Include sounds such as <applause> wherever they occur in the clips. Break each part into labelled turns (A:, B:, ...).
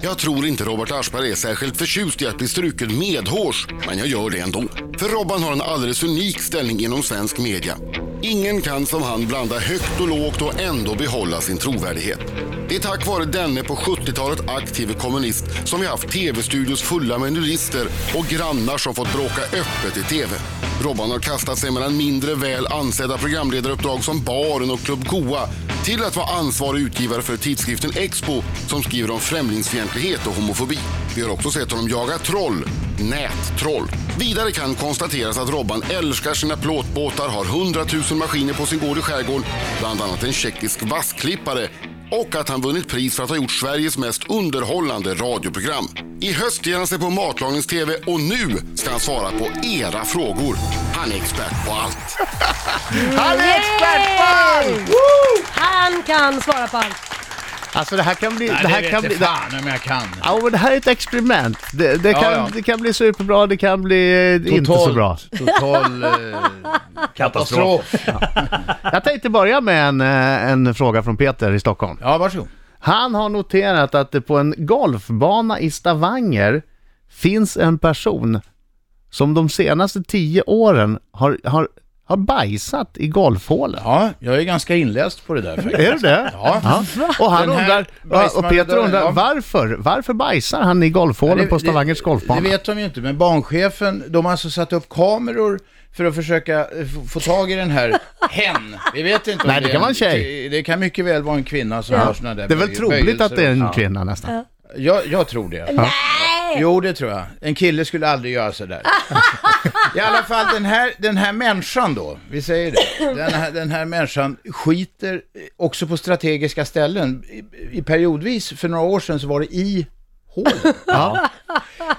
A: Jag tror inte Robert Aschberg är särskilt förtjust i att bli struken medhårs, men jag gör det ändå. För Robban har en alldeles unik ställning inom svensk media. Ingen kan som han blanda högt och lågt och ändå behålla sin trovärdighet. Det är tack vare denne på 70-talet aktive kommunist som vi haft tv-studios fulla med nudister och grannar som fått bråka öppet i tv. Robban har kastat sig mellan mindre väl ansedda programledaruppdrag som Baren och Club Goa till att vara ansvarig utgivare för tidskriften Expo som skriver om främlingsfientlighet och homofobi. Vi har också sett honom jaga troll, nättroll. Vidare kan konstateras att Robban älskar sina plåtbåtar, har 100 000 maskiner på sin gård i skärgården, bland annat en tjeckisk vassklippare och att han vunnit pris för att ha gjort Sveriges mest underhållande radioprogram. I höst ger han sig på matlagnings-tv och nu ska han svara på era frågor. Han är expert på allt.
B: Han är expert på allt! Woo!
C: Han kan svara på allt.
B: Alltså det här kan bli...
D: Nej,
B: det här
D: det
B: kan
D: vete
B: bli... det-
D: fan om jag kan.
B: Ja, men det här är ett experiment. Det, det,
D: Ja,
B: kan,
D: ja.
B: det kan bli superbra, det kan bli eh, inte så
D: Total-
B: bra.
D: Total eh, katastrof.
B: Jag tänkte börja med en, eh, en fråga från Peter i Stockholm.
D: Ja, varsågod.
B: Han har noterat att det på en golfbana i Stavanger finns en person som de senaste tio åren har, har, har bajsat i golfhålet.
D: Ja, jag är ganska inläst på det där
B: <laughs>
D: faktiskt.
B: Är det det?
D: Ja.
B: Och, han
D: Den här
B: undrar,
D: bajsmannen
B: och Peter
D: dör,
B: undrar
D: ja.
B: varför? Varför bajsar han i golfhålet
D: Det-
B: på Stavangers
D: det-
B: golfbana?
D: Det vet de ju inte, men banchefen, de har alltså satt upp kameror för att försöka eh, f- få tag i den här <laughs> hen. Vi vet inte om
B: Nej, det
D: är
B: kan vara en tjej.
D: Det, det kan mycket väl vara en kvinna som har sådana där
B: Det är väl
D: böj-
B: troligt att det är en
D: böjelser.
B: kvinna nästan.
D: Jag, jag tror det.
C: Nej!
D: Jo, det tror jag. En kille skulle aldrig göra sådär. I alla fall den här, den här människan då, vi säger det. Den här, den här människan skiter eh, också på strategiska ställen. I, I periodvis, för några år sedan så var det i hålen.
B: Ja.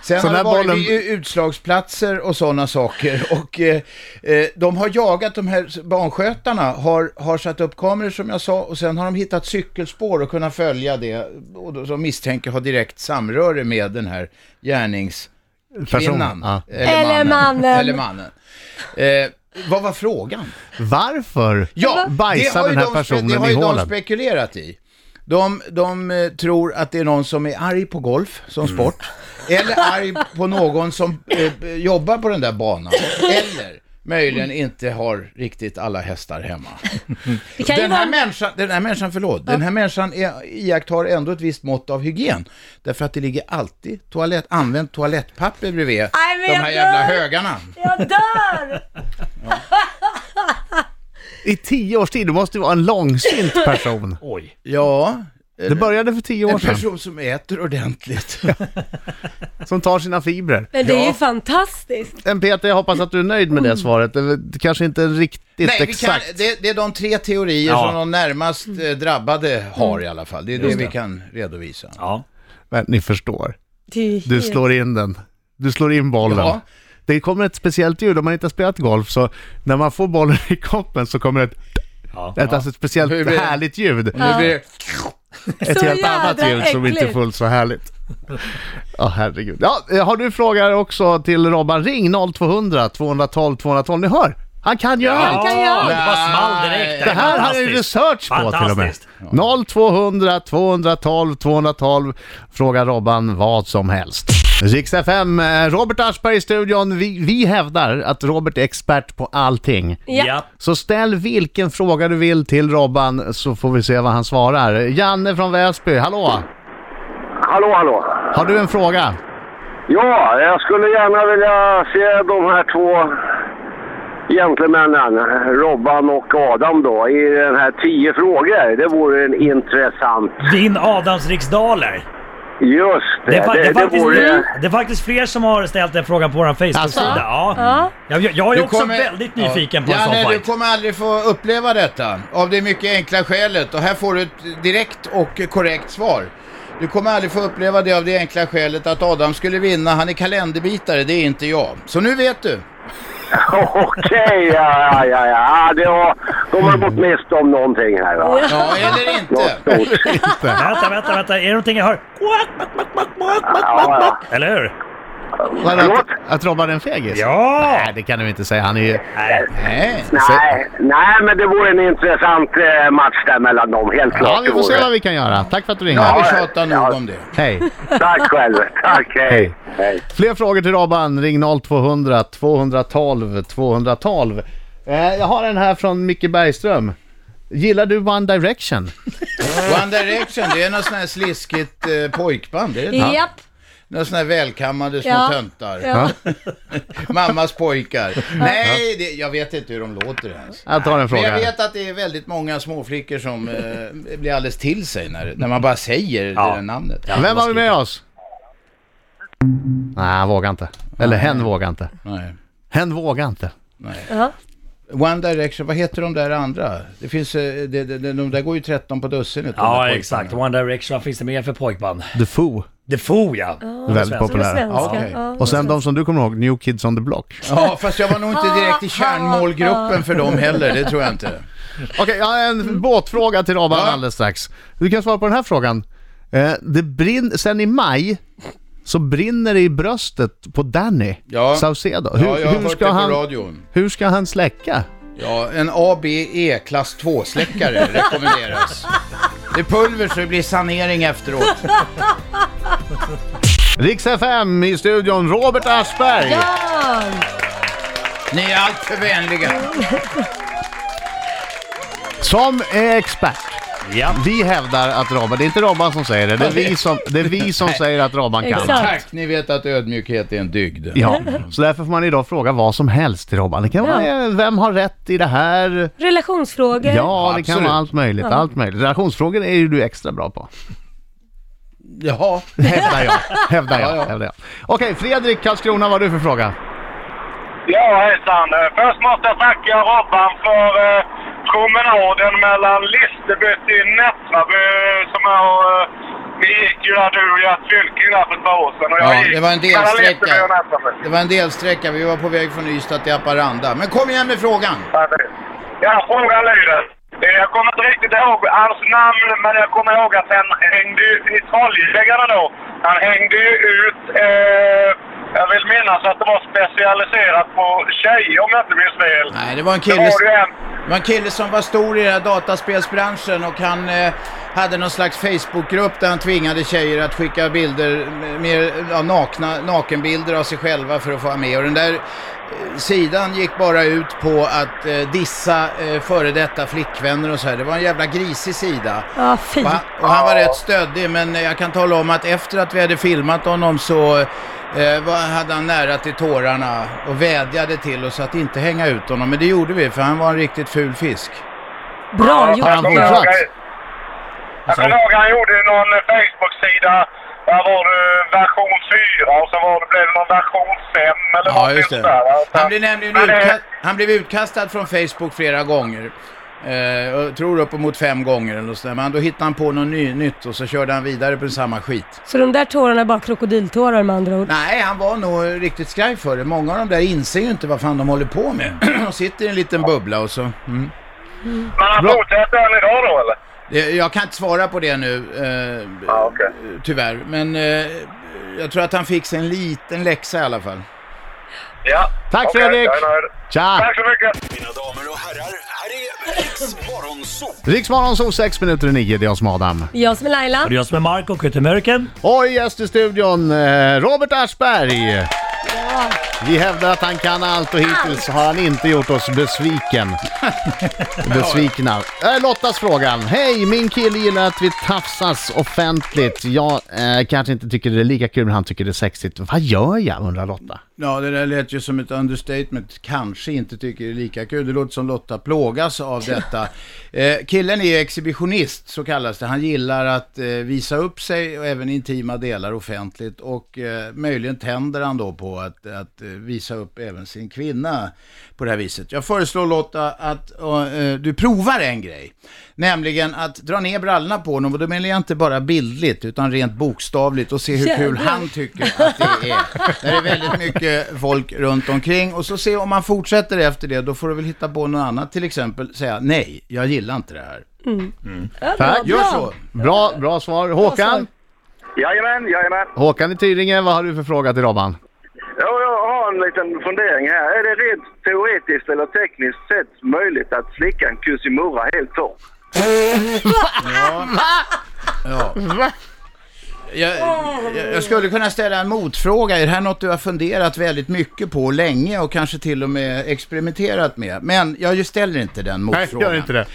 D: Sen
B: Så
D: har
B: när
D: det varit
B: bollen-
D: ju utslagsplatser och sådana saker. Och eh, eh, de har jagat, de här barnskötarna har, har satt upp kameror som jag sa och sen har de hittat cykelspår och kunnat följa det. Och de- de misstänker ha direkt samröre med den här gärningskvinnan.
B: Person. Ja.
C: Eller mannen.
D: Eller mannen. Eh, vad var frågan?
B: Varför
D: Ja, det
B: bajsar
D: har
B: den
D: ju
B: här
D: de spe- Det
B: personen
D: har
B: i
D: ju de
B: hålen?
D: spekulerat i. De, de eh, tror att det är någon som är arg på golf som
B: Mm.
D: sport. Eller arg på någon som eh, jobbar på den
B: <laughs>
D: där banan. Eller möjligen inte har riktigt alla hästar hemma.
C: Det kan ju
D: Den här
C: vara...
D: människan, den här människan, förlåt, den här människan är, iakttar ändå ett visst mått av hygien. Därför att det ligger alltid toalett, använt toalettpapper bredvid
C: Nej, men
D: de
C: jag
D: här jävla
C: dör.
D: högarna.
C: Jag dör!
B: I tio års tid, det måste ju vara en
D: <laughs>
B: långsint person.
E: Oj.
D: Ja,
B: Det började för tio år
D: en
B: sedan,
D: person som äter
C: <laughs>
D: ordentligt.
B: som tar sina fibrer.
C: Men det är
D: Ja.
C: ju fantastiskt.
B: Men Peter, jag hoppas att du är nöjd med det svaret. Det är väl kanske inte riktigt
D: Mm. Nej, vi kan,
B: exakt.
D: det, det är de tre teorier
E: Ja.
D: som de närmast eh, drabbade
C: Mm.
D: har i alla fall. Det är det vi kan redovisa.
E: Ja.
B: Men ni förstår.
C: Det är ju
B: Du
C: helt-
B: slår in den. Du slår in bollen.
D: Ja.
B: Det kommer ett speciellt ljud om man inte har spelat golf, så när man får bollen i koppen så kommer ett,
E: Ja.
B: ett, alltså ett speciellt
D: Hur blir det?
B: härligt ljud.
D: Nu blir det,
B: Ett
C: Så
B: helt annat
C: jädra
B: ljud som inte är
C: äckligt.
B: fullt så härligt. Ja, herregud. Ja, eh, har du frågor också till Robban, ring 0200 212 212. Ni hör, han kan ju allt!
C: kan jag.
E: Det bara small direkt.
B: Det här har jag ju
E: fantastiskt.
B: research på till och med.
E: Fantastiskt.
B: 0200 212 212. Fråga Robban vad som helst. Rix FM, eh, Robert Aschberg i studion. Vi, vi hävdar att Robert är expert på allting.
C: Ja.
E: Ja.
B: Så ställ vilken fråga du vill till Robban så får vi se vad han svarar. Janne från Väsby, hallå!
F: Hallå, hallå.
B: Har du en fråga?
F: Ja, jag skulle gärna vilja se de här två gentlemännen, Robban och Adam då, i den här tio frågor. Det vore en intressant.
E: Din Adams riksdaler.
F: Just det,
E: Det är, fa- det, är faktiskt,
F: vore...
E: det är faktiskt fler som har ställt den frågan på vår Facebook-sida.
B: Alltså?
E: Ja. Jag, jag, jag är också väldigt nyfiken på en sån
D: Janne, du
E: fight.
D: kommer aldrig få uppleva detta. Av det mycket enkla skälet. Och här får du ett direkt och korrekt svar. Du kommer aldrig få uppleva det av det enkla skälet att Adam skulle vinna. Han är kalenderbitare, det är inte jag. Så nu vet du.
F: <laughs> Okej, ja, ja, ja, ja. Det var, de har gått miste om någonting här va.
D: Ja, eller
F: Något
D: inte.
F: stort.
B: <laughs>
E: Vänta, vänta, vänta. Är det någonting jag hör?
F: Ja, ja.
E: Eller hur?
B: Vadå,
F: Förlåt?
B: att, att Robban är en fegis?
E: Ja!
B: Nej, det kan du inte säga. Han är ju...
E: Nej.
D: Nej.
F: Nej, nej, men det vore en intressant eh, match där mellan dem. Helt klart.
B: Ja, vi
F: det
B: får se
F: vore.
B: vad vi kan göra. Tack för att du ringde.
D: Ja,
F: Ja,
D: vi tjatar nog
F: ja.
D: om det.
B: Hej.
F: Tack
B: <laughs>
F: själv. Tack,
B: Hej.
F: hej. hej.
B: Fler frågor till Robban, ring 0200 212 212. Eh, jag har en här från Micke Bergström. Gillar du One Direction?
D: One Direction, det är något sånt här sliskigt eh, pojkband. Det är det.
C: Japp.
D: Några sådana här välkammade små
C: Ja.
D: töntar.
C: Ja.
D: Mammas pojkar. Nej, det, jag vet inte hur de låter ens.
B: Jag tar en
D: Men jag
B: fråga.
D: vet att det är väldigt många småflickor som eh, blir alldeles till sig när, när man bara säger det
E: Ja.
D: där namnet.
B: Vem har vi med oss? Nej, han vågar inte. Eller hen vågar inte.
D: Nej.
B: Hen vågar inte.
C: Ja.
D: One Direction, vad heter de där andra? Det finns, eh, det, det, de, de där går ju 13 på dussinet. de där
E: Ja,
D: pojkarna.
E: exakt. One Direction, vad finns det mer för pojkband?
B: The Foo.
E: The Foo, ja.
B: Väldigt
C: De är
B: populär.
C: svenska.
D: Ja, okej.
C: Ja.
B: Och sen de som du kommer ihåg, New Kids on the Block.
D: Ja, fast jag var nog inte direkt i kärnmålgruppen för dem heller, det tror jag inte.
B: Okej, jag har en båtfråga till Robban
D: Mm. Ja.
B: alldeles strax. Du kan svara på den här frågan. Eh, det brinn- sen i maj så brinner det i bröstet på Danny
D: Ja.
B: Saucedo. Hur,
D: Ja, jag har
B: hur,
D: hört
B: ska
D: det på
B: han,
D: radion.
B: hur ska han släcka?
D: Ja, en ABE klass 2-släckare rekommenderas. Det är pulver så det blir sanering efteråt.
B: Riks FM i studion, Robert Aschberg!
C: Ja.
D: Ni är alltför vänliga.
B: Som är expert.
E: Ja.
B: Vi hävdar att Robban, det är inte Robban som säger det, det är vi som, det är vi som säger att Robban kan.
C: Exakt.
D: Tack, ni vet att ödmjukhet är en dygd.
B: Ja, så därför får man idag fråga vad som helst till Robban. Det kan vara, eh, vem har rätt i det här?
C: Relationsfrågor.
B: Ja, det kan
D: Absolut.
B: vara allt möjligt, allt möjligt. Relationsfrågor är ju du extra bra på.
D: Jaha.
B: <laughs> Hävdar jag, hävdar jag,
D: Ja, ja.
B: hävdar jag. Okej, Fredrik Karlskrona, vad har du för fråga?
G: Ja, hejsan. Eh, Först måste jag tacka Robban för eh, promenaden mellan Listerby till Nättraby som jag... Eh, vi gick ju där du och Gert Fylking där för ett par år sedan. Och jag
D: Ja,
G: gick
D: det var en
G: mellan Listerby
D: delsträcka.
G: och Nättraby.
D: Det var en delsträcka, vi var på väg från Ystad till Haparanda. Men kom igen med frågan!
G: Ja, det- Ja, frågan lyder. Eh, Jag kommer inte riktigt ihåg hans namn, men jag kommer ihåg att han hängde ju i Trollhättan då. Han hängde ju ut... Eh, jag vill minnas att det var specialiserat på tjejer om jag inte minns fel.
D: Nej, det var en
G: Det
D: kille,
G: var ju en
D: det var en kille som var stor i den här dataspelsbranschen och han eh, hade någon slags Facebookgrupp där han tvingade tjejer att skicka bilder, m- mer ja, nakna, nakenbilder av sig själva för att få vara med. Och den där eh, sidan gick bara ut på att eh, dissa eh, före detta flickvänner och så här. Det var en jävla grisig sida.
C: Ja, fy.
D: Och han, och han var rätt stöddig, men jag kan tala om att efter att vi hade filmat honom så eh, var, hade han nära till tårarna och vädjade till oss att inte hänga ut honom. Men det gjorde vi, för han var en riktigt ful fisk.
C: Bra
G: Ja,
C: gjort.
G: jag kommer
B: fortsatt?
G: ihåg- Jag kommer ihåg han gjorde någon eh, Facebook-sida. Där var det eh, version 4 och så var det, blev det någon version 5 eller något sånt där. Alltså,
D: Han blev nämligen
G: men, eh,
D: utkast, han blev utkastad från Facebook flera gånger. Eh, och tror uppemot fem gånger eller något sånt där. Men då hittade han på något ny, nytt och så körde han vidare på samma skit.
C: Så de där tårarna är bara krokodiltårar med andra ord.
D: Nej, han var nog riktigt skraj för det. Många av de där inser ju inte vad fan de håller på med. <clears throat> de sitter i en liten bubbla och så... Mm.
G: Men han
B: Bra.
G: fortsätter än idag då eller?
D: Eh, Jag kan inte svara på det nu, eh,
G: Ja, okej.
D: tyvärr. Men eh, jag tror att han fick sig en liten läxa i alla fall.
G: Ja.
B: Tack,
G: Okej,
B: Fredrik.
G: jag är nöjd.
B: Tja!
G: Tack så mycket!
H: Mina damer och herrar, här är Riks Morgonzoo!
B: Riksmorgon så 6 minuter i 9, det är jag som är Adam.
C: Jag som är Laila.
E: Och det är jag som är Marco Kuttemörken.
B: Och gäst i studion, eh, Robert Aschberg! Vi hävdar att han kan allt och hittills har han inte gjort oss besviken. Besvikna. Äh, Lottas frågan. Hej, min kille gillar att vi tafsas offentligt. Jag eh, kanske inte tycker det är lika kul, men han tycker det är sexigt. Vad gör jag, undrar Lotta.
D: Ja, det där lät ju som ett understatement. Kanske inte tycker det är lika kul. Det låter som Lotta plågas av detta. Eh, killen är exhibitionist, så kallas det. Han gillar att eh, visa upp sig och även intima delar offentligt. Och eh, möjligen tänder han då på att, att eh, visa upp även sin kvinna på det här viset. Jag föreslår Lotta att eh, eh, du provar en grej. Nämligen att dra ner brallorna på honom. Och då menar jag inte bara bildligt, utan rent bokstavligt. Och se hur kul
C: Jävlar.
D: han tycker att det är. Där är väldigt mycket folk runt omkring. Och så se om man fortsätter efter det, då får du väl hitta på något annat. Till exempel säga nej, jag gillar inte det här.
C: Ja,
B: Tack.
D: Gör
C: bra.
D: så.
B: Bra, bra svar.
C: Bra svar.
B: Håkan?
G: Jajamän, jajamän.
B: Håkan i Tyringe, vad har du för fråga till Robban?
F: Oh, liten fundering här. Är det rent teoretiskt eller tekniskt sett möjligt att slicka en kusimurra helt torr?
D: Ja. Jag, jag- jag skulle kunna ställa en motfråga. Är det här något du har funderat väldigt mycket på länge och kanske till och med experimenterat med? Men jag ju ställer inte den motfrågan.
B: Nej, gör inte det.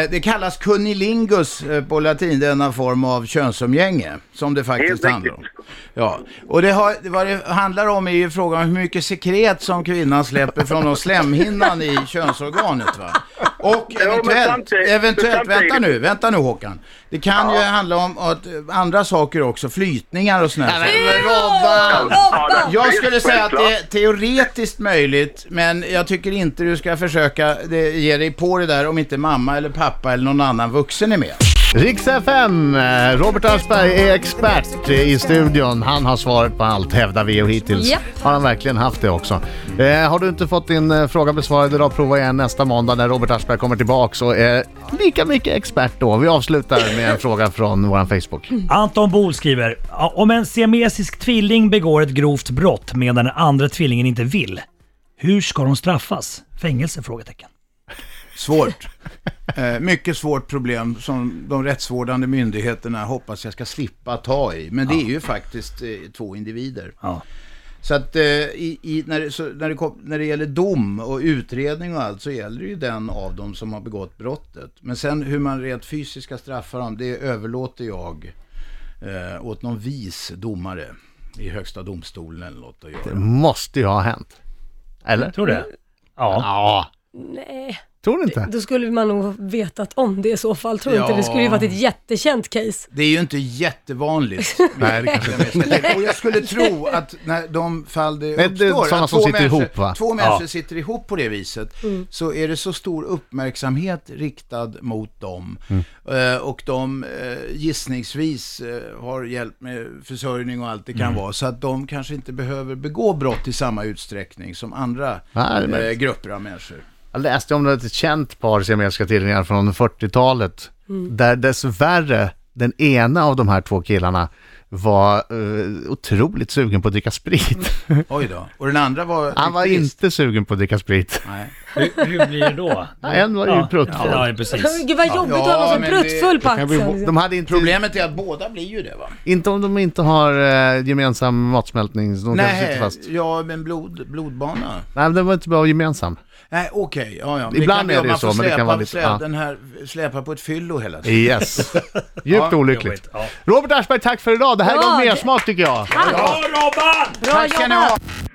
D: Eh, Det kallas cunnilingus eh, på latin, denna form av könsumgänge som det faktiskt
F: Helt
D: handlar om. Ja, och det har, vad det handlar om är ju frågan om hur mycket sekret som kvinnan släpper från de slemhinnan i könsorganet. Va? Och
F: men
D: eventuellt,
F: samtidigt-
D: eventuellt
F: samtidigt-
D: vänta nu, vänta nu Håkan. Det kan ju handla om att, eh, andra saker också, flytningar och sådana här saker.
B: Robban!
C: Robban!
D: Jag skulle säga att det är teoretiskt möjligt, men jag tycker inte du ska försöka det, ge dig på det där om inte mamma eller pappa eller någon annan vuxen är med.
B: Riks FM, eh, Robert Aschberg är expert i studion. Han har svaret på allt, hävdar vi och hittills
C: Ja.
B: har han verkligen haft det också. Eh, har du inte fått din eh, fråga besvarad idag, prova igen nästa måndag när Robert Aschberg kommer tillbaka och är lika mycket expert då. Vi avslutar med en fråga från våran Facebook.
C: Mm.
E: Anton Bol skriver. "Ja, Om en siamesisk tvilling begår ett grovt brott medan den andra tvillingen inte vill. Hur ska de straffas? Fängelse? Frågetecken.
D: Svårt. Eh, mycket svårt problem som de rättsvårdande myndigheterna hoppas jag ska slippa ta i. Men det är ju faktiskt eh, två individer.
E: Ja.
D: Så att eh, i, i, när, det- så, när, det kom, när det gäller dom och utredning och allt så gäller det ju den av dem som har begått brottet. Men sen hur man rent fysiskt ska straffa dem, det överlåter jag eh, åt någon vis domare i högsta domstolen eller något att göra.
B: Måste ju ha hänt. Eller?
E: Tror du det? Ja.
B: Ja,
C: Nej,
B: tror du inte?
C: då skulle man nog ha vetat om det i så fall. Tror inte det skulle ju varit ett jättekänt case.
D: Det är ju inte jättevanligt.
B: Nej, det kanske inte.
D: Och jag skulle tro att när de fall det
B: det är
D: uppstår,
B: sådana
D: att
B: som
D: två
B: sitter
D: människor,
B: ihop, va?
D: två människor sitter ihop på det viset, så är det så stor uppmärksamhet riktad mot dem.
B: Mm.
D: Eh, Och de eh, gissningsvis eh, har hjälp med försörjning och allt det kan
B: Mm.
D: vara, så att de kanske inte behöver begå brott i samma utsträckning som andra
B: Ja, det är
D: eh,
B: möjligt.
D: grupper av människor.
B: Jag läste om ett känt par siamesiska tvillingar från 40-talet.
E: Mm.
B: Där dessvärre den ena av de här två killarna var eh, otroligt sugen på att dricka
E: <laughs>
B: sprit.
D: Oj då. Och den andra var...
B: Han var
D: nykterist.
B: inte sugen på att dricka sprit.
D: Nej.
E: Hur, hur blir det då?
B: En var ju
E: Ja,
B: pruttfull.
E: Ja, ja, precis.
C: Gud vad jobbigt att
D: Ja,
C: ha någon
D: men
C: som pruttfull på
B: Kan bli-
C: axeln. liksom.
B: De hade inte,
D: Problemet är att båda blir ju det va?
B: inte om de inte har eh, gemensam matsmältning. så De kanske sitter fast.
D: ja men blod, blodbana.
B: Nej, men den var inte bra gemensam.
D: Nej, okej. Ja, ja. Men
B: Ibland
D: bli
B: är
D: om
B: det
D: man
B: så,
D: får
B: men det kan
D: släpa-
B: vara lite-
D: Släpa,
B: ja.
D: den här, släpa på ett fyllo hela tiden.
E: <laughs>
B: Yes. Djupt olyckligt.
E: jobbigt, ja.
B: Robert Aschberg, tack för idag. Det här
C: Ja,
B: gav
C: det-
B: mer smak tycker jag.
E: Ja, Robban!
C: Bra jobbat!
D: ni ha.